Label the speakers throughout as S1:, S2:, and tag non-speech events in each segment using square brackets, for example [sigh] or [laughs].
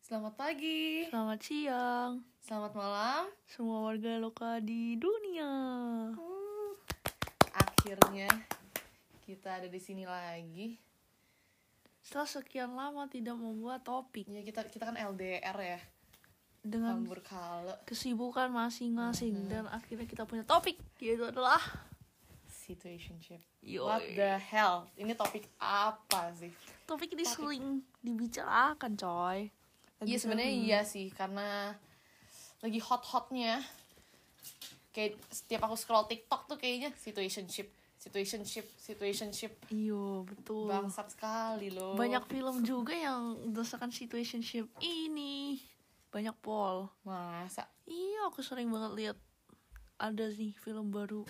S1: Selamat pagi,
S2: Selamat siang,
S1: selamat malam.
S2: semua warga lokal di dunia.
S1: Hmm, Akhirnya kita ada di sini lagi.
S2: Setelah sekian lama tidak membuat topik
S1: Ya kita kita kan LDR
S2: Iya.
S1: ya,
S2: dengan
S1: kambur kale
S2: kesibukan masing-masing
S1: Mm-hmm.
S2: dan akhirnya kita punya topik yaitu adalah
S1: situationship.
S2: Yoi.
S1: What the hell? Ini topik apa sih?
S2: topik ini sering dibicarakan coy. Lagi
S1: Iya sebenarnya
S2: sering.
S1: iya sih karena lagi hot-hotnya. Kayak setiap aku scroll TikTok tuh kayaknya situationship, situationship, situationship.
S2: Iyo betul.
S1: Bangsat sekali loh.
S2: Uh. Banyak film juga yang berdasarkan situationship ini. Banyak pol.
S1: masa
S2: Iya aku sering banget lihat ada sih film baru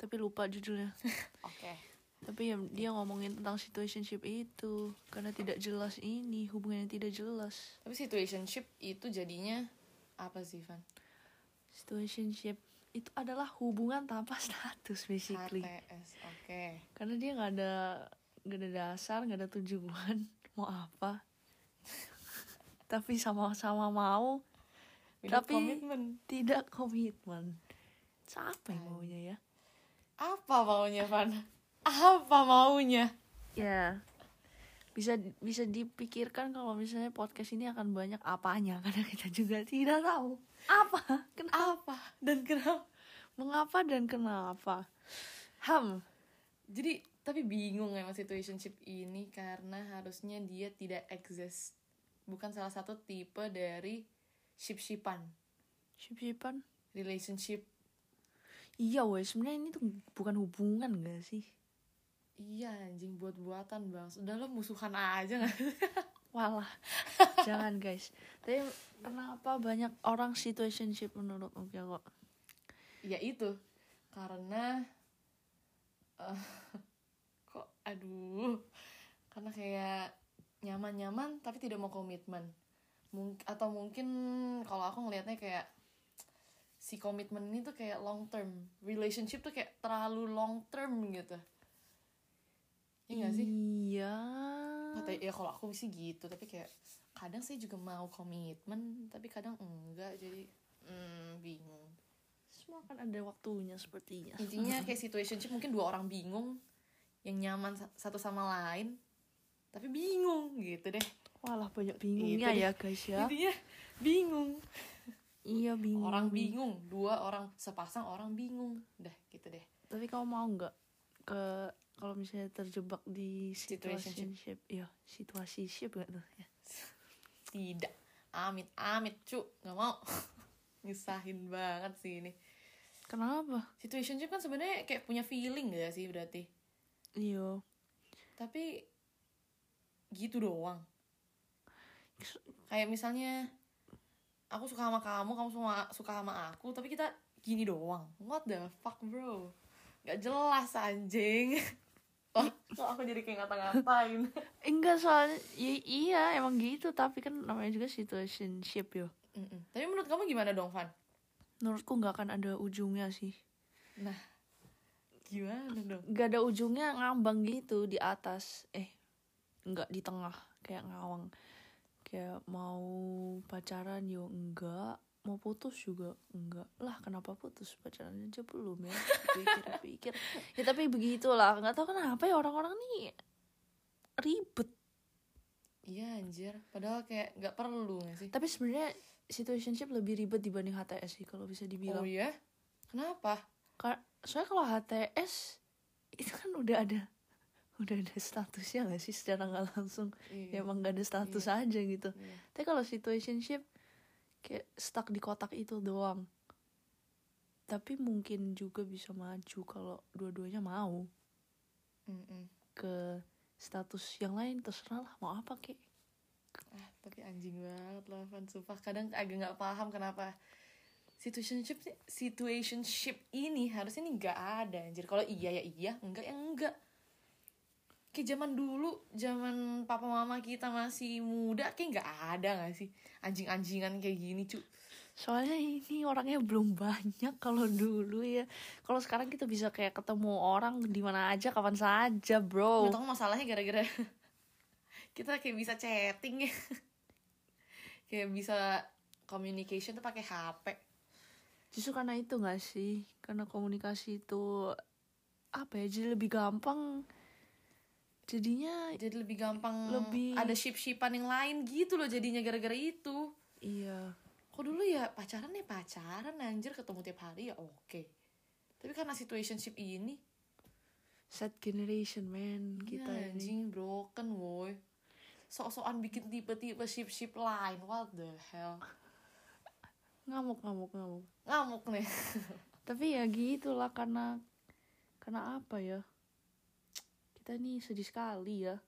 S2: tapi lupa judulnya.
S1: oke.
S2: tapi ya dia ngomongin tentang situationship itu karena tidak jelas ini hubungannya tidak jelas
S1: Tapi situationship itu jadinya apa sih, Van?
S2: situationship itu adalah hubungan tanpa [laughs] status basically
S1: HTS. Oke.
S2: karena dia nggak ada nggak ada dasar nggak ada tujuan [laughs] mau apa [laughs] tapi sama-sama mau
S1: Without
S2: Tapi-
S1: komitmen.
S2: tidak komitmen siapa yang maunya ya
S1: Apa maunya, Van? Apa maunya?
S2: ya bisa bisa dipikirkan kalau misalnya podcast ini akan banyak apanya [laughs] karena kita juga tidak tahu apa kenapa
S1: Apa dan kenapa?
S2: Mengapa dan kenapa? Ham.
S1: Jadi tapi bingung emang situationship ini karena harusnya dia tidak exist. Bukan salah satu tipe dari ship-shipan,
S2: Sip-sipan.
S1: relationship.
S2: Iya weh, sebenarnya ini tuh bukan hubungan gak sih?
S1: Iya anjing buat-buatan bang. Udah lo musuhan aja gak?
S2: Walah. [laughs] Jangan guys. Tapi kenapa banyak orang situationship menurut Om Jago?
S1: ya itu karena eh, [laughs] kok aduh karena kayak nyaman-nyaman tapi tidak mau komitmen Mung- atau mungkin kalau aku ngelihatnya kayak si komitmen ini tuh kayak long term relationship tuh kayak terlalu long term gitu iya gak sih
S2: Iya.
S1: Kata, ya kalau aku sih gitu tapi kayak kadang saya juga mau komitmen tapi kadang enggak jadi mm, bingung
S2: Semua kan ada waktunya sepertinya.
S1: intinya kayak situationship mungkin dua orang bingung yang nyaman sa- satu sama lain tapi bingung gitu deh
S2: [laughs] Walah banyak
S1: Itu
S2: bingungnya
S1: deh.
S2: ya guys ya.
S1: intinya bingung
S2: Iya bingung.
S1: orang bingung dua orang sepasang orang bingung dah gitu deh
S2: Tapi kamu mau nggak ke kalau misalnya terjebak di situationship? Iya, situasi ship gak tuh? Ya.
S1: tidak amit amit cu nggak mau [laughs] nyusahin banget sih ini
S2: Kenapa?
S1: situationship kan sebenarnya kayak punya feeling gak sih berarti
S2: Iya.
S1: tapi gitu doang kayak misalnya aku suka sama kamu kamu suka suka sama aku tapi kita gini doang what the fuck bro nggak jelas [laughs] anjing Wah, Oh, kok aku jadi kayak ngata-ngatain
S2: Enggak soalnya i- iya emang gitu tapi kan namanya juga situationship yo.
S1: [laughs] Mm-mm. tapi menurut kamu gimana dong Van
S2: Menurutku nggak akan ada ujungnya sih.
S1: nah gimana dong
S2: Nggak ada ujungnya ngambang gitu di atas. Eh nggak di tengah kayak ngawang. Kayak mau pacaran yo enggak, mau putus juga enggak. Lah kenapa putus pacaran aja belum ya? Pikir-pikir. ya tapi begitulah. Nggak tahu kenapa ya orang-orang nih ribet.
S1: iya anjir padahal kayak nggak perlu nggak sih
S2: Tapi sebenarnya situationship lebih ribet dibanding HTS sih kalau bisa dibilang.
S1: oh iya kenapa
S2: Kar- soalnya kalau HTS itu kan udah ada udah ada statusnya gak sih secara nggak langsung ya
S1: Iya.
S2: emang gak ada status aja gitu
S1: Iya.
S2: tapi kalau situationship kayak stuck di kotak itu doang tapi mungkin juga bisa maju kalau dua-duanya mau
S1: Mm-mm.
S2: ke status yang lain terserah lah mau apa kek
S1: ah tapi anjing banget lah Van sumpah kadang agak nggak paham kenapa situationship sih- situationship ini harusnya ini nggak ada anjir kalau iya ya iya enggak ya enggak kayak zaman dulu zaman papa mama kita masih muda kayak nggak ada nggak sih anjing-anjingan kayak gini cu
S2: soalnya ini orangnya belum banyak kalau dulu ya kalau sekarang kita bisa kayak ketemu orang di mana aja kapan saja
S1: [laughs]
S2: bro
S1: Menurut aku masalahnya gara-gara kita kayak bisa chatting ya [laughs] kayak bisa communication tuh pakai HP
S2: Justru karena itu gak sih? Karena komunikasi itu apa ya? Jadi lebih gampang. Jadinya
S1: jadi lebih gampang
S2: Lebih-
S1: ada ship-shipan yang lain gitu loh jadinya gara-gara itu
S2: iya.
S1: kok dulu ya pacaran ya pacaran anjir ketemu tiap hari ya oke tapi karena situationship ini
S2: Sad generation man
S1: kita
S2: kita Iya,
S1: Iya,
S2: ini.
S1: anjing broken woy sok-sokan bikin tipe-tipe ship-ship lain what the hell
S2: Ngamuk ngamuk ngamuk.
S1: ngamuk nih
S2: Tapi ya gitulah karena karena apa ya? Kita nih sedih sekali ya.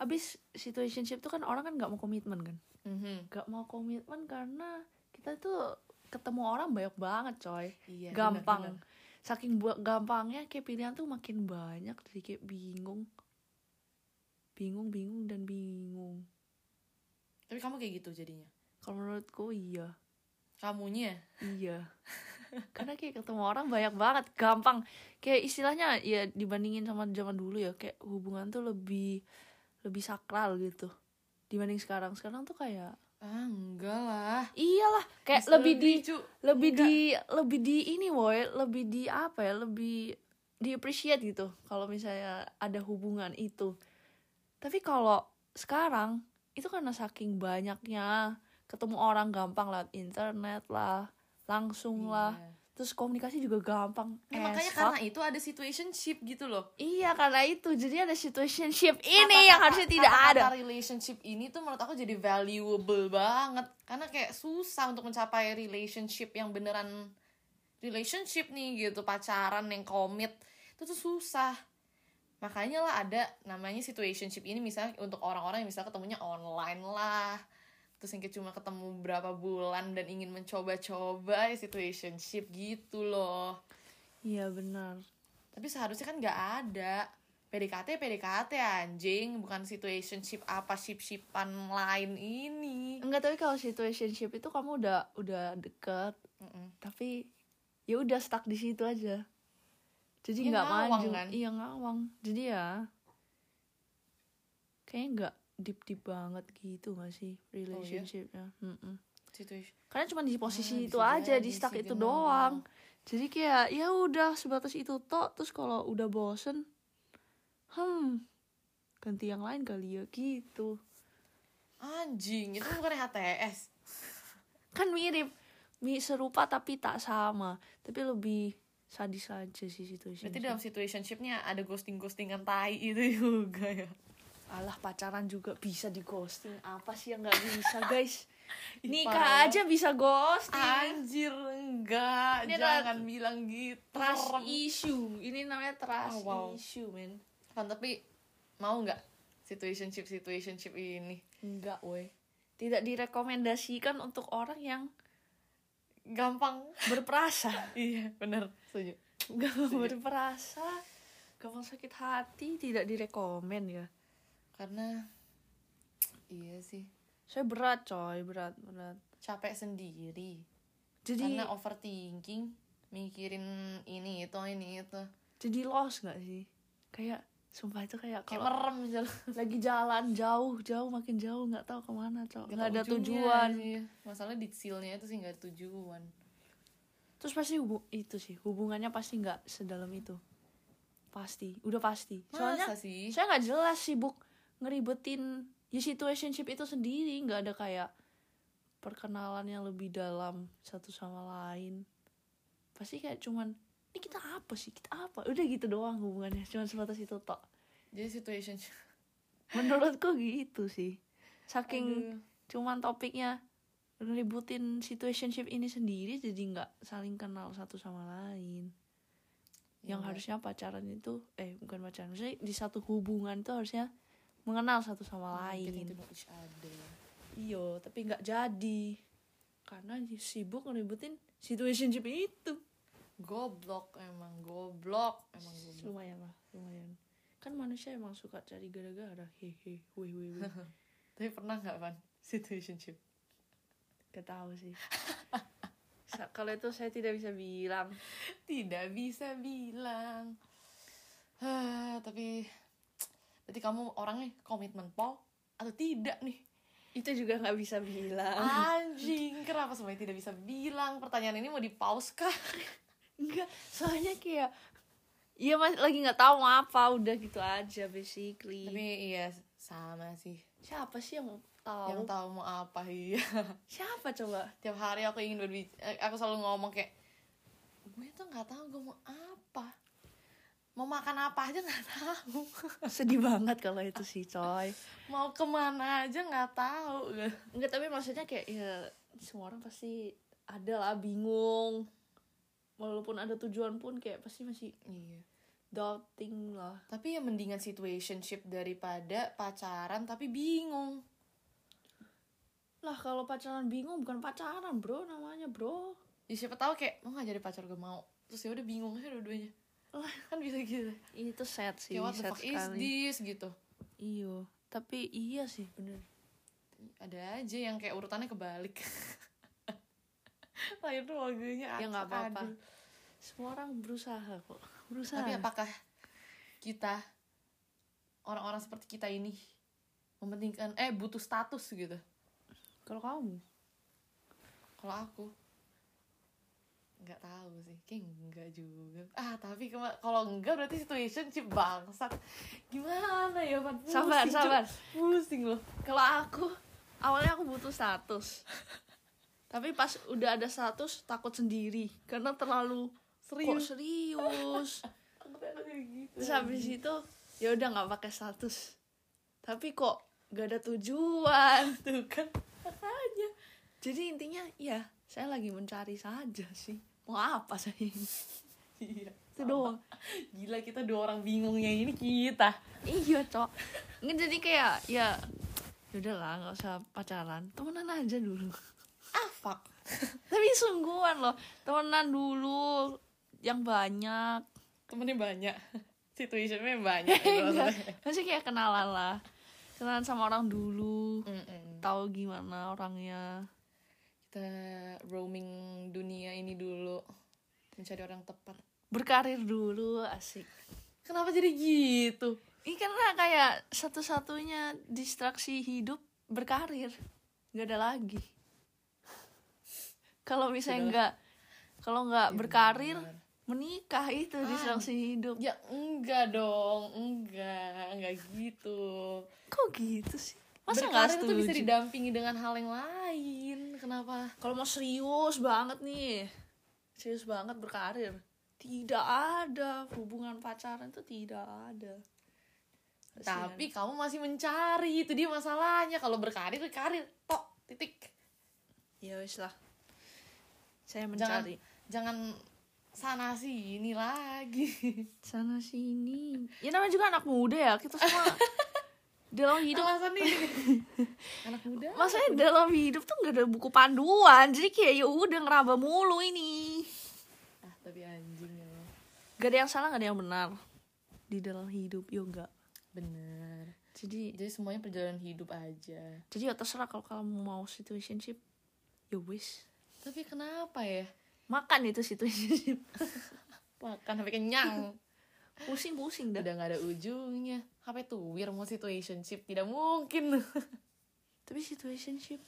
S2: Abis situationship tuh kan orang kan nggak mau komitmen kan? Gak mau komitmen karena kita tuh ketemu orang banyak banget coy.
S1: iya
S2: gampang
S1: bener-bener.
S2: saking buat gampangnya kayak pilihan tuh makin banyak jadi kayak bingung bingung bingung dan bingung
S1: tapi kamu kayak gitu jadinya
S2: kalau menurutku iya
S1: kamunya
S2: iya karena kayak ketemu orang banyak banget gampang kayak istilahnya ya dibandingin sama zaman dulu ya kayak hubungan tuh lebih lebih sakral gitu dibanding sekarang sekarang tuh kayak
S1: ah enggak lah
S2: iyalah kayak
S1: Bisa
S2: lebih di
S1: cu.
S2: lebih di lebih di ini woi lebih di apa ya lebih di appreciate gitu kalau misalnya ada hubungan itu tapi kalau sekarang itu karena saking banyaknya ketemu orang gampang lewat internet lah langsung lah
S1: Iya.
S2: terus komunikasi juga gampang
S1: Ya, makanya
S2: As
S1: karena
S2: fuck.
S1: itu ada situationship gitu loh
S2: iya karena itu jadi ada situationship ini
S1: Kata-kata-
S2: yang harusnya tidak ada
S1: kata-kata relationship ini tuh menurut aku jadi valuable banget karena kayak susah untuk mencapai relationship yang beneran relationship nih gitu pacaran yang komit itu tuh susah makanya lah ada namanya situationship ini misalnya untuk orang-orang yang misalnya ketemunya online lah terus yang kayak cuma ketemu berapa bulan dan ingin mencoba-coba ya situationship gitu loh
S2: iya benar
S1: tapi seharusnya kan nggak ada PDKT PDKT anjing bukan situationship apa ship shipan lain ini
S2: enggak tapi kalau situationship itu kamu udah udah deket
S1: Mm-mm.
S2: tapi ya udah stuck di situ aja jadi
S1: Iya,
S2: nggak
S1: ngawang
S2: maju
S1: kan?
S2: iya ngawang jadi ya kayaknya nggak deep deep banget gitu
S1: Oh,
S2: gak sih
S1: ya?
S2: relationshipnya Mm-mm.
S1: situation
S2: karena cuma di
S1: Ah,
S2: posisi
S1: bisa
S2: itu aja
S1: jadi
S2: di stuck
S1: sih,
S2: itu
S1: bener.
S2: doang jadi kayak ya udah sebatas itu tok terus kalau udah bosen hmm ganti yang lain kali ya gitu
S1: anjing itu bukan HTS
S2: kan mirip Mi serupa tapi tak sama tapi lebih sadis aja sih situasi
S1: berarti dalam situationshipnya ada ghosting ghostingan tai itu [laughs] juga ya
S2: Alah pacaran juga bisa di ghosting Apa sih yang gak bisa [laughs] guys Ah,
S1: Ih,
S2: Nikah
S1: parah.
S2: aja bisa ghosting
S1: anjir enggak
S2: Iya. Ini adalah
S1: jangan bilang gitu
S2: Trust
S1: Serem.
S2: issue Ini namanya
S1: Oh,
S2: trust
S1: wow.
S2: issue men
S1: Kan, tapi mau nggak situationship situationship ini
S2: Enggak woi Tidak direkomendasikan untuk orang yang [laughs]
S1: gampang
S2: berperasa
S1: iya bener setuju
S2: Gak berperasa Gampang sakit hati Tidak direkomen ya
S1: karena iya sih
S2: Saya berat coy Berat berat
S1: capek sendiri
S2: Jadi
S1: karena overthinking mikirin ini itu ini itu
S2: jadi lost gak sih Kayak Sumpah itu kayak
S1: kayak
S2: kalau
S1: merem jalan
S2: [laughs] lagi jalan jauh jauh makin jauh nggak tahu kemana cok nggak ada
S1: ujungnya
S2: tujuan
S1: sih. masalah di seal-nya itu sih nggak ada tujuan
S2: terus pasti hubu- itu sih hubungannya pasti nggak sedalam itu pasti udah pasti soalnya
S1: masa sih
S2: saya nggak jelas sibuk ngeribetin ya situationship itu sendiri nggak ada kayak perkenalan yang lebih dalam satu sama lain pasti kayak cuman ini kita apa sih kita apa udah gitu doang hubungannya cuman sebatas itu tok
S1: jadi situation
S2: menurutku gitu sih saking
S1: Aduh.
S2: cuman topiknya ngeributin situationship ini sendiri jadi nggak saling kenal satu sama lain yang
S1: Iya.
S2: harusnya pacaran itu eh bukan pacaran maksudnya di satu hubungan itu harusnya mengenal satu
S1: Hmm, Getting
S2: sama
S1: to
S2: lain
S1: know each other.
S2: iyo tapi nggak jadi karena sibuk ngeributin situationship itu
S1: goblok emang goblok emang goblok
S2: lumayan lah lumayan kan manusia emang suka cari gara-gara hehe weh weh weh
S1: tapi pernah nggak van situationship
S2: Gak tahu sih Sa- kalau itu saya tidak bisa bilang
S1: tidak bisa bilang [sighs] Hah, tapi berarti kamu orangnya komitmen pol atau tidak nih
S2: itu juga nggak bisa bilang
S1: Ah. Anjing, kenapa semuanya tidak bisa bilang? Pertanyaan ini mau di-pause kah?
S2: enggak soalnya kayak Iya mas lagi nggak tahu mau apa udah gitu aja basically
S1: Tapi iya, sama sih.
S2: siapa sih yang mau tahu
S1: Yang tahu mau apa iya. [laughs]
S2: siapa coba [laughs]
S1: Tiap hari aku ingin berbicara, aku selalu ngomong kayak gue tuh nggak tahu gue mau apa. Mau makan apa aja nggak [laughs] tahu.
S2: sedih banget kalau itu sih coy
S1: Mau kemana aja nggak tahu. [laughs]
S2: enggak tapi maksudnya kayak ya semua orang pasti ada lah bingung walaupun ada tujuan pun kayak pasti masih
S1: Iya.
S2: doubting lah
S1: Tapi ya mendingan situationship daripada pacaran tapi bingung.
S2: lah kalau pacaran bingung bukan pacaran bro namanya bro
S1: Ya siapa tahu kayak mau nggak jadi pacar gue mau. Terus ya udah bingung aja dua-duanya. Lah, kan bisa gitu.
S2: itu sad sih
S1: Kayak what the
S2: sad
S1: fuck is
S2: sekali
S1: this gitu.
S2: iyo tapi iya sih bener
S1: ada aja yang kayak urutannya
S2: [laughs]
S1: kebalik lahir tuh lagunya
S2: ya nggak
S1: acak
S2: apa-apa
S1: adul.
S2: semua orang berusaha kok [laughs] berusaha
S1: tapi apakah kita orang-orang seperti kita ini mementingkan eh butuh status gitu
S2: kalau kamu
S1: kalau aku nggak tahu sih kayak enggak juga ah tapi kema- kalau enggak berarti situationship bangsat gimana ya Van? Pusing,
S2: Sabar,
S1: Cuk.
S2: sabar.
S1: pusing loh
S2: kalau aku awalnya aku butuh status tapi pas udah ada status takut sendiri karena terlalu kok
S1: serius
S2: serius
S1: Takutnya aku jadi gitu.
S2: terus habis itu ya udah nggak pakai status tapi kok gak ada tujuan
S1: tuh kan makanya
S2: jadi intinya ya saya lagi mencari saja sih mau apa saya ini
S1: iya
S2: itu doang
S1: Gila kita dua orang bingungnya ini kita.
S2: iya cok nggak jadi kayak ya udahlah nggak usah pacaran temenan aja dulu
S1: Ah fuck.
S2: tapi sungguhan loh temenan dulu yang banyak Eh,
S1: Temennya banyak. [laughs] Situationnya
S2: [laughs]
S1: banyak.
S2: Enggak. masih kayak kenalan lah kenalan sama orang dulu
S1: Mm-mm.
S2: tahu gimana orangnya
S1: Kita roaming dunia ini dulu mencari orang tepat.
S2: berkarir dulu asik
S1: Kenapa jadi gitu?
S2: ini karena kayak satu-satunya distraksi hidup berkarir nggak ada lagi kalau misalnya
S1: Sudahlah.
S2: nggak kalau nggak
S1: Ya,
S2: berkarir
S1: benar.
S2: menikah itu
S1: Ah.
S2: distraksi hidup
S1: Ya enggak dong, enggak, enggak gitu.
S2: kok gitu sih masa nggak
S1: Berkarir tuh
S2: setuju
S1: bisa didampingi dengan hal yang lain. Kenapa?
S2: kalau mau serius banget nih serius banget berkarir tidak ada hubungan pacaran tuh tidak ada Kasihan.
S1: Tapi kamu masih mencari, itu dia masalahnya. Kalau berkarir, berkarir, tok, titik.
S2: ya wis lah saya mencari
S1: jangan sana sini lagi
S2: sana sini ya namanya juga anak muda ya kita [laughs] semua dalam
S1: hidup
S2: hidup
S1: alasan nih anak muda
S2: maksudnya dalam hidup tuh nggak ada buku panduan jadi kayak ya udah ngeraba mulu ini
S1: ah tapi anjing ya lo.
S2: gak ada yang salah gak ada yang benar di dalam hidup yo enggak
S1: bener
S2: jadi
S1: jadi semuanya perjalanan hidup aja
S2: jadi ya terserah kalau kamu mau situationship ya wis
S1: tapi kenapa ya
S2: makan itu
S1: [laughs]
S2: situationship
S1: makan sampai kenyang
S2: pusing-pusing dah
S1: udah nggak ada ujungnya apa itu weird mau situationship tidak mungkin
S2: tapi situationship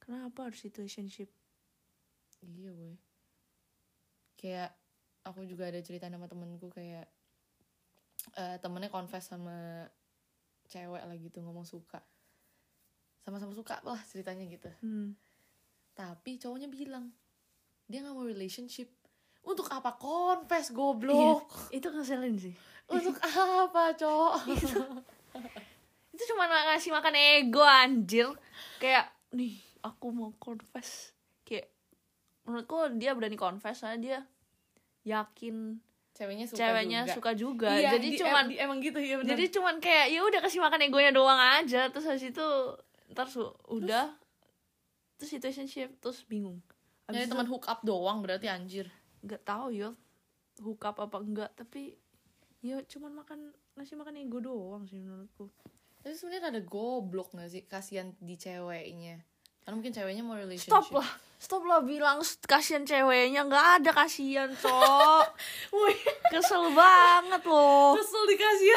S2: kenapa harus situationship
S1: iya boy kayak aku juga ada cerita sama temenku kayak eh, temennya confess sama cewek lah gitu ngomong suka sama-sama suka lah ceritanya gitu
S2: hmm.
S1: tapi cowoknya bilang dia nggak mau relationship untuk apa confess goblok
S2: itu ngeselin sih
S1: [laughs] untuk apa cowok [laughs]
S2: itu cuma ngasih makan ego anjir kayak nih aku mau confess kayak menurutku dia berani confess soalnya dia yakin
S1: ceweknya suka
S2: ceweknya
S1: juga.
S2: suka juga
S1: Iya,
S2: jadi
S1: di-
S2: cuman
S1: em- di- emang gitu ya benar
S2: jadi cuman kayak ya udah kasih makan egonya doang aja terus habis itu ntar su- udah terus situationship terus bingung
S1: jadi
S2: habis itu
S1: teman hook up doang berarti anjir
S2: nggak tahu yo hook up apa enggak tapi ya cuman makan ngasih makan ego doang sih menurutku
S1: tapi sebenarnya ada goblok nggak sih kasihan di ceweknya karena mungkin ceweknya mau relationship
S2: stop lah stop lah bilang "St- kasihan ceweknya nggak ada kasihan cok [laughs]
S1: [laughs] Wih,
S2: kesel banget
S1: Oh.
S2: loh
S1: kesel dikasih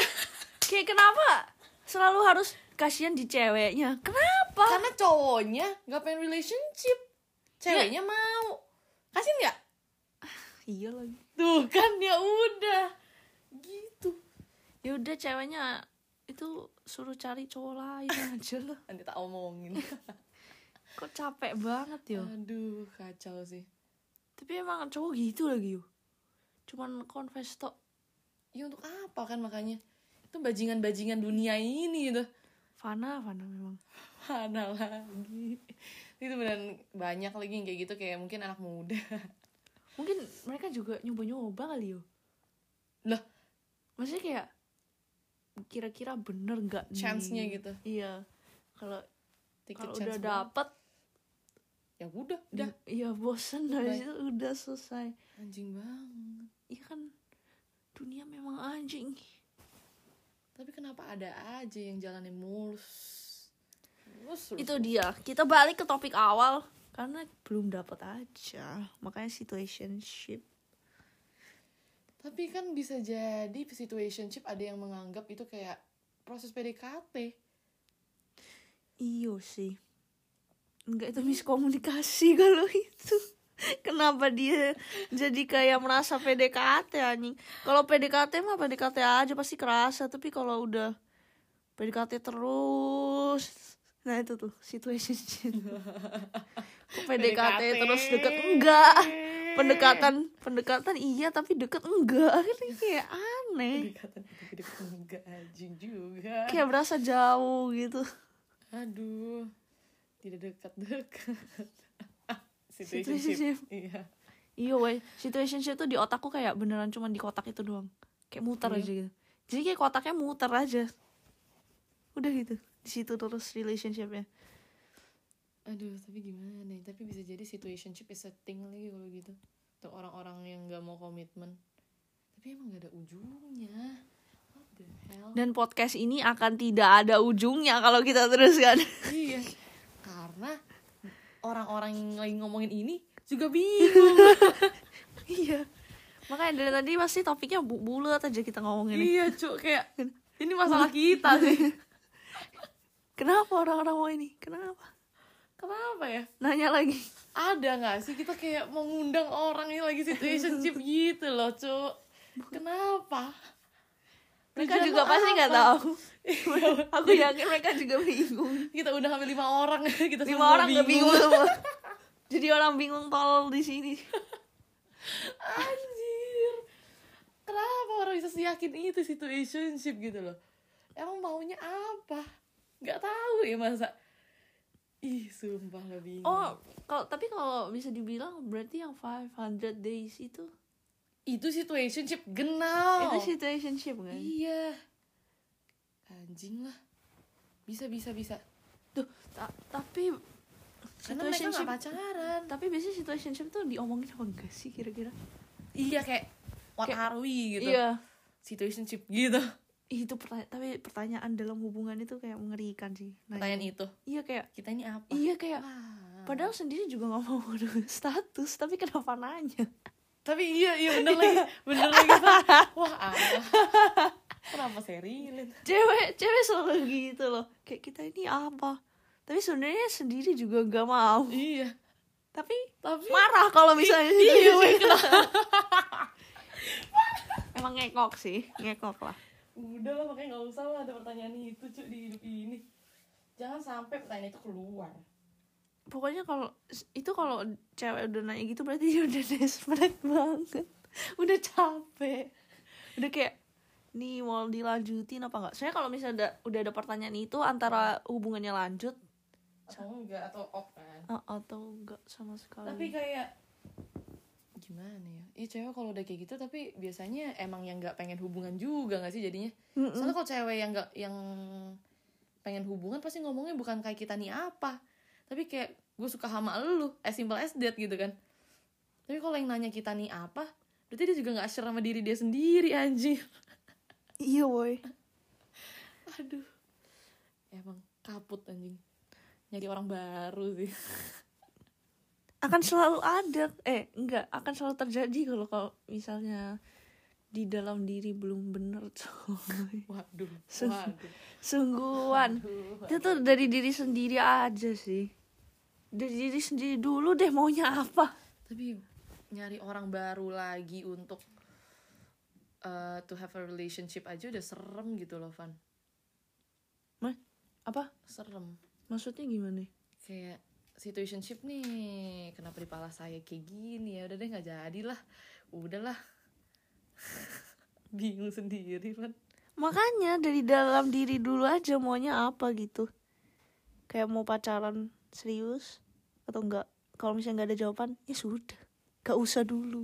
S2: kayak kenapa selalu harus kasihan di ceweknya kenapa Kenapa?
S1: [laughs] karena cowoknya nggak pengen relationship ceweknya mau kasih nggak
S2: Iya lagi.
S1: tuh kan ya udah gitu
S2: Ya udah ceweknya itu suruh cari cowok lain [laughs] aja lah.
S1: nanti tak omongin [laughs]
S2: Kok capek banget
S1: Iya.
S2: yo.
S1: aduh kacau sih
S2: Tapi emang cowok gitu lagi yo. Cuman confess tok.
S1: ya untuk apa kan makanya itu bajingan-bajingan dunia ini gitu
S2: Fana, Fana memang.
S1: mana lagi itu beneran banyak lagi yang kayak gitu kayak mungkin anak muda
S2: Mungkin mereka juga nyoba-nyoba kali yo.
S1: Lah.
S2: Maksudnya kayak kira-kira bener nggak nih?
S1: chance-nya gitu
S2: Iya. Kalau
S1: tiket
S2: kalau
S1: chance
S2: udah
S1: banget. Iya.
S2: dapet,
S1: ya udah
S2: di-
S1: udah
S2: iya bosen dari
S1: Bye.
S2: situ udah selesai.
S1: anjing banget
S2: Iya kan dunia memang anjing.
S1: tapi kenapa ada aja yang jalannya mulus mulus terus.
S2: Itu dia. Kita balik ke topik awal karena belum dapat aja. Makanya situationship.
S1: tapi kan bisa jadi situationship ada yang menganggap itu kayak proses PDKT
S2: Iyo sih. Enggak itu miskomunikasi [laughs] kalau itu. Kenapa dia jadi kayak merasa PDKT anjing? Kalau PDKT mah PDKT aja pasti kerasa, tapi kalau udah PDKT terus nah itu tuh situationship. Kok PDKT terus deket enggak? Pendekatan pendekatan iya tapi deket enggak. [laughs] Kan kayak aneh.
S1: pendekatan itu gede enggak anjing juga
S2: Kayak berasa jauh gitu.
S1: aduh tidak dekat-dekat situationship
S2: Situationship.
S1: iya
S2: Iya weh, situationship tuh di otakku kayak beneran cuman di kotak itu doang. Kayak muter
S1: Iya.
S2: aja gitu. Jadi kayak kotaknya muter aja. Udah gitu. Di situ terus relationshipnya.
S1: aduh tapi gimana ya tapi bisa jadi situationship is a thing lagi kalau gitu untuk orang-orang yang nggak mau komitmen tapi emang nggak ada ujungnya what the hell
S2: Dan podcast ini akan tidak ada ujungnya kalau kita teruskan.
S1: iya karena orang-orang yang lagi ngomongin ini juga
S2: [laughs]
S1: bingung
S2: [laughs] iya. Makanya dari tadi pasti topiknya bu- bulat aja kita ngomongin.
S1: iya cuk kayak ini masalah kita sih
S2: [laughs] Kenapa orang-orang mau ini? Kenapa?
S1: kenapa ya
S2: Nanya lagi.
S1: ada nggak sih kita kayak mau ngundang orang yang lagi
S2: [laughs]
S1: situationship gitu loh cuk kenapa
S2: Mereka
S1: Tujuan
S2: juga
S1: lo
S2: pasti nggak
S1: apa?
S2: [laughs] tahu. Iya, Aku yakin mereka juga bingung.
S1: kita udah hampir lima orang [laughs] kita
S2: lima
S1: semua
S2: orang udah bingung [laughs] semua jadi orang bingung tol di sini
S1: anjir kenapa orang bisa seyakin itu situationship gitu loh emang maunya apa nggak tahu ya masa ih sumpah lo bingung
S2: oh kalau tapi kalau bisa dibilang berarti yang 500 days itu
S1: itu situationship genau
S2: itu situationship kan
S1: iya anjing lah bisa bisa bisa
S2: Ta- tapi
S1: karena mereka
S2: Situationship-
S1: nggak pacaran
S2: tapi biasanya situationship tuh diomongin apa enggak sih kira-kira
S1: iya kayak what
S2: Kayak-
S1: are we gitu
S2: iya
S1: situationship gitu
S2: Ih, itu pertanya- tapi pertanyaan dalam hubungan itu kayak mengerikan sih Nanya.
S1: pertanyaan itu
S2: iya kayak
S1: kita ini apa
S2: iya kayak
S1: Ah.
S2: padahal sendiri juga nggak mau [laughs] ngadu status tapi kenapa nanya
S1: tapi iya iya [laughs] bener lagi bener lagi Pak. wah Allah. kenapa saya relate
S2: cewek cewek selalu gitu loh kayak kita ini apa tapi sebenarnya sendiri juga nggak mau
S1: iya
S2: tapi
S1: tapi
S2: marah kalau misalnya
S1: [laughs] iya weh, kenapa?
S2: emang ngekok sih ngekok lah
S1: udah lah makanya nggak usah lah ada pertanyaan itu cuy di hidup ini jangan sampai pertanyaan itu keluar
S2: pokoknya kalau itu kalau cewek udah nanya gitu berarti dia udah [laughs] desperate banget udah capek udah kayak nih mau dilanjutin apa enggak soalnya kalau misalnya ada, udah ada pertanyaan itu antara hubungannya lanjut
S1: atau enggak atau off kan
S2: a- atau enggak sama sekali
S1: tapi kan kayak gimana ya iya cewek kalau udah kayak gitu tapi biasanya emang yang nggak pengen hubungan juga nggak sih jadinya
S2: Mm-mm.
S1: soalnya kalau cewek yang nggak yang pengen hubungan pasti ngomongnya bukan kayak kita nih apa tapi kayak gue suka sama lu as simple as that gitu kan tapi kalau yang nanya kita nih apa berarti dia juga nggak sure sama diri dia sendiri anjing [laughs]
S2: iya boy
S1: aduh emang kaput anjing nyari orang baru sih [laughs]
S2: akan selalu ada eh enggak akan selalu terjadi kalau kalau misalnya di dalam diri belum bener [laughs] coy
S1: waduh
S2: Sen-
S1: waduh
S2: sungguhan itu tuh dari diri sendiri aja sih dari diri sendiri dulu deh maunya apa
S1: tapi nyari orang baru lagi untuk eh, to have a relationship aja udah serem gitu loh Van
S2: apa
S1: serem
S2: maksudnya gimana
S1: kayak situationship nih kenapa di pala saya kayak gini ya udah deh nggak jadilah udahlah [laughs] bingung sendiri Van
S2: makanya dari dalam diri dulu aja maunya apa gitu kayak mau pacaran serius atau enggak kalau misalnya nggak ada jawaban ya sudah gak usah dulu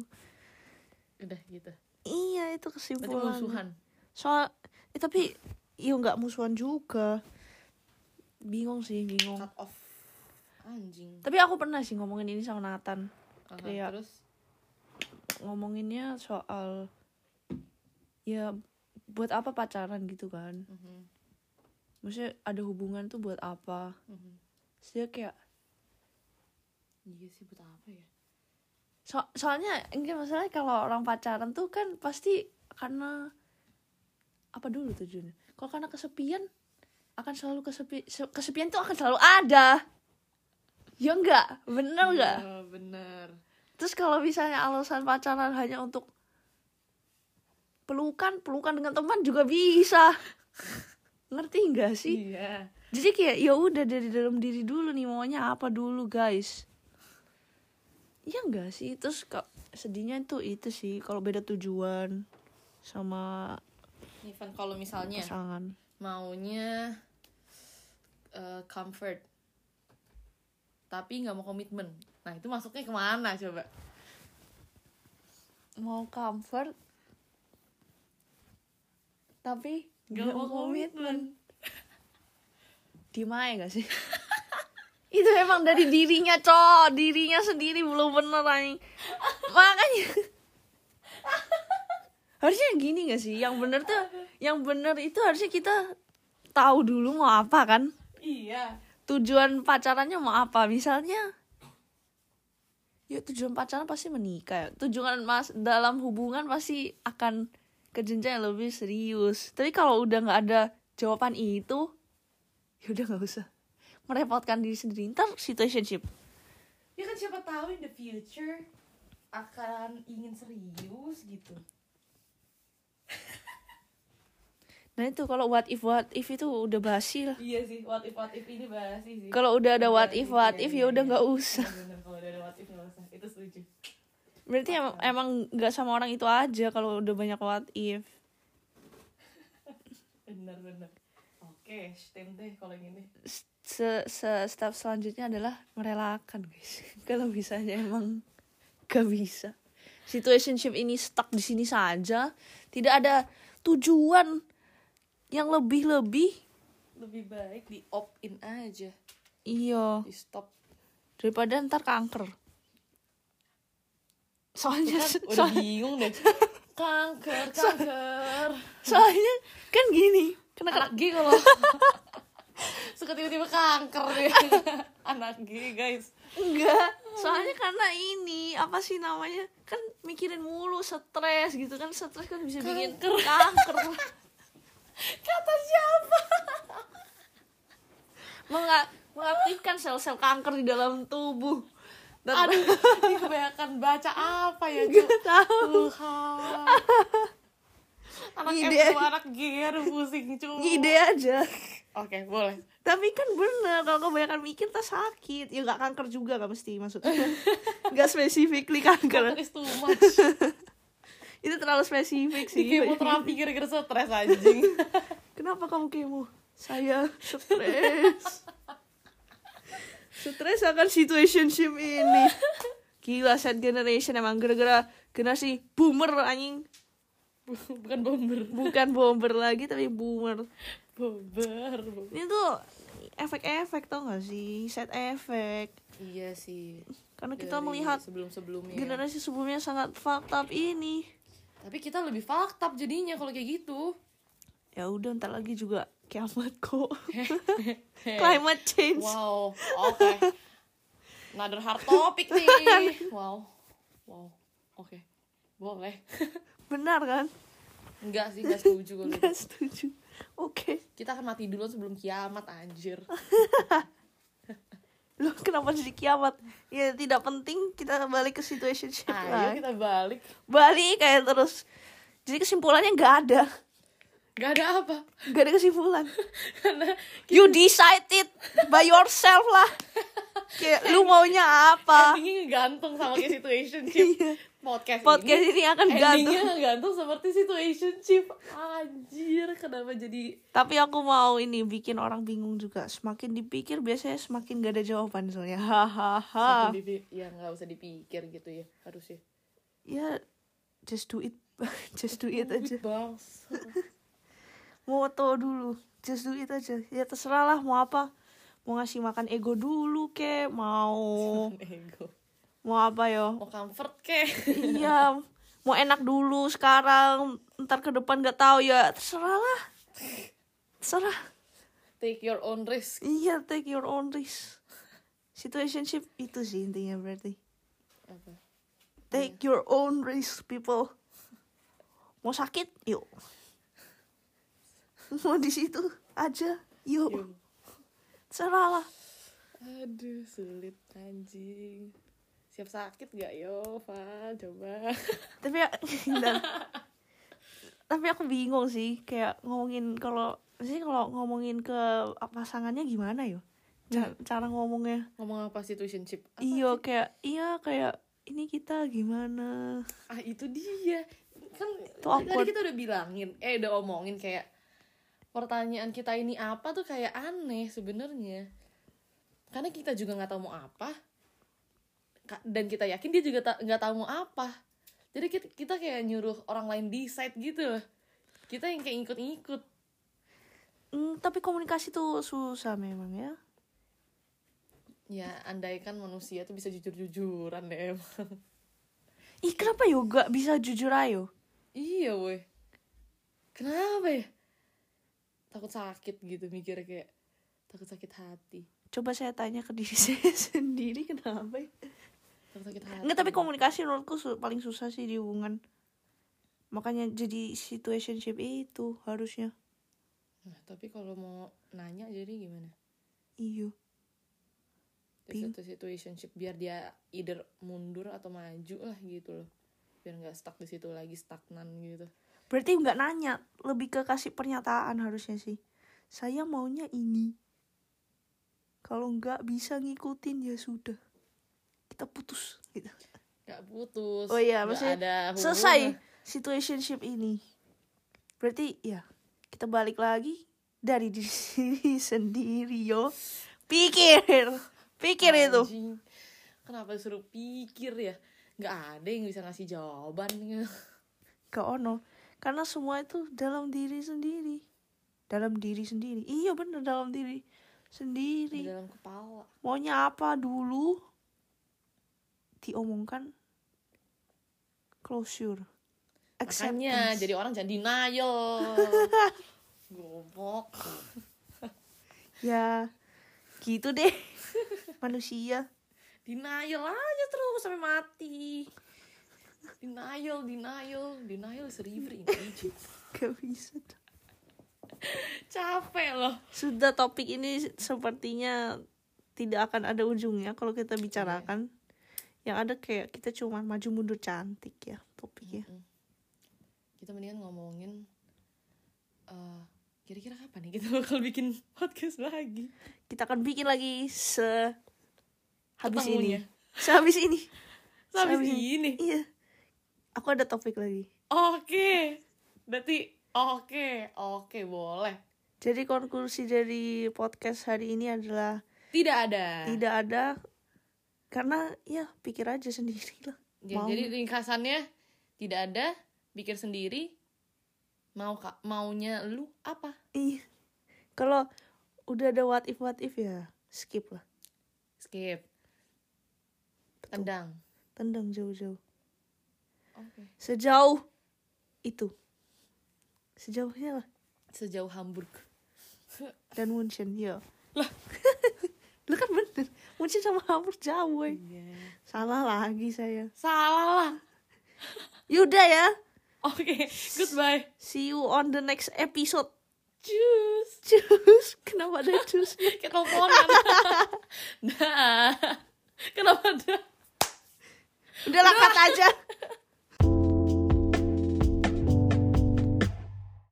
S1: udah gitu
S2: iya itu
S1: berarti
S2: kesimpulan
S1: musuhan
S2: soal eh, tapi ya nggak musuhan juga bingung sih bingung
S1: cut off anjing Iya.
S2: tapi aku pernah sih ngomongin ini sama Nathan
S1: Aha,
S2: Kayak-
S1: terus
S2: ngomonginnya soal ya buat apa pacaran gitu kan
S1: Mhm,
S2: maksudnya ada hubungan tuh buat apa
S1: mhm.
S2: sih kayak
S1: iya sih buat apa ya
S2: so- soalnya enggak masalahnya kalau orang pacaran tuh kan pasti karena apa dulu tujuannya kalau karena kesepian akan selalu kesepi se- kesepian tuh akan selalu ada ya enggak bener enggak
S1: Iya, bener
S2: Terus kalau misalnya alasan pacaran hanya untuk pelukan, pelukan dengan teman juga bisa. Ngerti nggak sih?
S1: iya
S2: Jadi kayak ya udah dari dalam diri dulu nih maunya apa dulu guys. Ya enggak sih? Terus ka- sedihnya itu itu sih kalau beda tujuan sama
S1: nih Van kalau misalnya
S2: pasangan.
S1: maunya eh, comfort tapi nggak mau komitmen nah itu masuknya kemana coba
S2: Mau comfort tapi
S1: Nggak mau
S2: [laughs]
S1: komitmen.
S2: Dimai gak sih? [laughs] itu emang dari dirinya cok dirinya sendiri belum bener anjing makanya [laughs] harusnya gini gak sih yang bener tuh yang bener itu harusnya kita tahu dulu mau apa kan
S1: iya
S2: tujuan pacarannya mau apa misalnya ya tujuan pacaran pasti menikah ya. tujuan mas dalam hubungan pasti akan ke jenjang yang lebih serius tapi kalau udah nggak ada jawaban itu ya udah nggak usah merepotkan diri sendiri ntar situationship
S1: ya kan siapa tahu in the future akan ingin serius gitu
S2: nah itu kalau what if what if itu udah basi lah
S1: iya sih what if what if ini bahasi sih
S2: kalau udah ada what if what
S1: Iya,
S2: if
S1: iya,
S2: ya udah
S1: iya.
S2: nggak usah
S1: Iya, bener, kalau udah ada what if nggak usah itu setuju
S2: berarti em- emang nggak sama orang itu aja kalau udah banyak what if
S1: bener bener oke stem deh kalau gini
S2: se, se- step selanjutnya adalah merelakan guys [laughs] kalau misalnya emang gak bisa situationship ini stuck di sini saja tidak ada tujuan yang lebih lebih
S1: lebih baik di opt in aja
S2: iya
S1: di stop
S2: daripada ntar kanker soalnya
S1: udah
S2: so-
S1: bingung deh kanker [laughs] kanker
S2: soalnya kan gini kena
S1: anak G kalau suka tiba-tiba kanker deh [laughs] anak G guys
S2: enggak
S1: Oh.
S2: soalnya karena ini apa sih namanya kan mikirin mulu stres gitu kan stres kan bisa bikin
S1: [laughs]
S2: kanker
S1: kata siapa
S2: Menga- mengaktifkan sel-sel kanker di dalam tubuh dan [laughs]
S1: aduh ini kebanyakan baca apa ya Cu?
S2: tahu
S1: Tuhan anak
S2: Ngide.
S1: F anak G aduh pusing cu
S2: ide aja
S1: oke boleh
S2: tapi kan bener kalau kebanyakan mikir tak sakit ya nggak kanker juga nggak mesti
S1: [laughs]
S2: maksudnya nggak specifically
S1: kanker
S2: kanker
S1: is too [laughs] much
S2: itu terlalu
S1: di
S2: spesifik sih
S1: kemoterapi gara-gara stres anjing [laughs]
S2: kenapa kamu kemo saya stres stres akan situationship ini gila set generation emang gara-gara generasi boomer anjing
S1: bukan bomber
S2: bukan bomber lagi tapi boomer
S1: bomber
S2: Ini tuh efek-efek tau gak sih? Set efek.
S1: iya sih
S2: Karena
S1: Dari
S2: kita
S1: ya.
S2: melihat
S1: sebelum-sebelumnya
S2: generasi sebelumnya sangat fucked up ini.
S1: tapi kita lebih fucked up jadinya kalau kayak gitu
S2: Ya udah ntar lagi juga kiamat kok. Climate change.
S1: Eh. Wow, oke. Another hard topic nih. [laughs] Wow, wow, oke, boleh.
S2: Benar kan?
S1: Enggak sih, gak setuju gue.
S2: Gak setuju. Oke.
S1: Kita akan mati dulu sebelum kiamat anjir.
S2: Loh kenapa jadi kiamat? Ya tidak penting kita balik ke situationship
S1: Ayo
S2: lagi.
S1: kita balik.
S2: Balik kayak terus. Jadi kesimpulannya nggak ada.
S1: Gak ada apa.
S2: Gak ada kesimpulan.
S1: [laughs] Karena
S2: You decide it by yourself lah. Kayak lu maunya apa?
S1: endingnya ngegantung sama kayak situationship.
S2: Ah. Iya.
S1: Podcast,
S2: Podcast
S1: ini.
S2: ini akan
S1: Endingnya
S2: gantung.
S1: ngegantung seperti situationship. Anjir, kenapa jadi
S2: Tapi aku mau ini bikin orang bingung juga. Semakin dipikir biasanya semakin gak ada jawaban soalnya.
S1: makin
S2: Hahaha.
S1: dipi- ya nggak usah dipikir gitu ya harusnya.
S2: ya just do it. [laughs] just do it Gitu aja.
S1: Bangs.
S2: Moto dulu. Just do it aja. Ya terserah lah mau apa. Mau ngasih makan ego dulu kek,
S1: [laughs]
S2: mau
S1: Ego.
S2: mau apa yo?
S1: Mau comfort kek. [laughs]
S2: iya. Mau enak dulu sekarang, ntar ke depan gak tahu ya. Terserah lah. Terserah.
S1: Take your own risk.
S2: Iya, take your own risk. Situationship itu sih intinya berarti.
S1: Apa?
S2: Take your own risk, people. Mau sakit, yuk. Mau di situ aja, yuk.
S1: Yuk.
S2: Terserah lah.
S1: Aduh, sulit anjing. Siap sakit gak yo, Val? Coba.
S2: tapi ya, [laughs] dan- tapi aku bingung sih kayak ngomongin kalau sih kalau ngomongin ke pasangannya gimana yo Ja- cara ngomongnya
S1: Ngomong apa situationship? Apa?
S2: iyo kayak iya kayak ini kita gimana
S1: Ah, itu dia. Kan
S2: Itu
S1: tadi
S2: awkward.
S1: kita udah bilangin, eh udah omongin kayak pertanyaan kita ini apa tuh kayak aneh sebenarnya. Karena kita juga nggak tahu mau apa. Ka- Dan kita yakin dia juga ta- nggak tahu mau apa. Jadi kita, kita kayak nyuruh orang lain decide gitu loh. Kita yang kayak ikut-ikut.
S2: Hmm, tapi komunikasi tuh susah memang ya
S1: Ya, andaikan manusia tuh bisa jujur-jujuran deh. emang.
S2: ih kenapa yo gak bisa jujur ya? ayo
S1: Iya weh Kenapa ya? Takut sakit gitu mikirnya kayak Takut sakit hati
S2: coba saya tanya ke diri [laughs] saya sendiri kenapa ya?
S1: Takut sakit hati
S2: Nggak, tapi komunikasi menurutku su- paling susah sih di hubungan makanya jadi situationship itu harusnya
S1: Nah, tapi kalau mau nanya jadi gimana?
S2: iyo
S1: Dari
S2: Bing.
S1: satu situationship biar dia either mundur atau maju lah gitu loh Biar nggak stuck di situ lagi stagnan gitu
S2: Berarti nggak nanya, lebih ke kasih pernyataan harusnya sih. Saya maunya ini. Kalau nggak bisa ngikutin ya sudah. Kita putus gitu.
S1: Gak putus
S2: Oh iya,
S1: nggak
S2: maksudnya
S1: ada hubungan.
S2: Selesai situationship ini. Berarti ya, kita balik lagi dari [laughs] diri sendiri sendiri yo. Pikir. Pikir itu.
S1: Anjing. Kenapa suruh pikir ya? Nggak ada yang bisa ngasih jawaban gitu.
S2: Ke ono. Karena semua itu dalam diri sendiri. Dalam diri sendiri. Iya bener dalam diri
S1: Di
S2: sendiri.
S1: dalam kepala
S2: maunya apa dulu diomongkan closure
S1: Makanya
S2: acceptance
S1: jadi orang jangan denial.
S2: [laughs]
S1: Goblok.
S2: ya gitu deh [laughs] manusia
S1: Denial aja terus sampai mati. Denial, denial, denial seribu ini.
S2: [laughs] gak bisa
S1: Capek loh.
S2: sudah topik ini sepertinya tidak akan ada ujungnya kalau kita bicarakan
S1: Iya.
S2: yang ada kayak kita cuma maju mundur cantik ya topiknya
S1: Kita mendingan ngomongin eh, kira-kira kapan nih kita bakal bikin podcast lagi?
S2: kita akan bikin lagi se habis
S1: Ketemunya.
S2: ini sehabis ini
S1: Sampai
S2: Sehabis
S1: ya? ini.
S2: iya aku ada topik lagi
S1: Oke. Berarti oke, oke boleh.
S2: Jadi konklusi dari podcast hari ini adalah
S1: Tidak ada.
S2: tidak ada karena ya pikir aja sendiri lah.
S1: Ya,
S2: Mau.
S1: jadi ringkasannya tidak ada, pikir sendiri. Mau ka- maunya lu apa?
S2: Iya. Kalau udah ada what if what if ya skip lah.
S1: Skip.
S2: Betul.
S1: Tendang.
S2: Tendang jauh-jauh.
S1: Oke.
S2: Sejauh itu. Sejauhnya lah.
S1: Sejauh Hamburg.
S2: Dan Munchen ya. Lah. kan bener. Munchen sama Hamburg jauh. woy. Salah lagi saya.
S1: Salah lah.
S2: Yaudah ya. [laughs]
S1: Oke, goodbye.
S2: See you on the next episode. [laughs]
S1: Cus.
S2: Cus, kenapa ada cus?
S1: Kayak
S2: [laughs]
S1: teleponan. Dah. Kenapa dah?
S2: Udah lah, cut aja.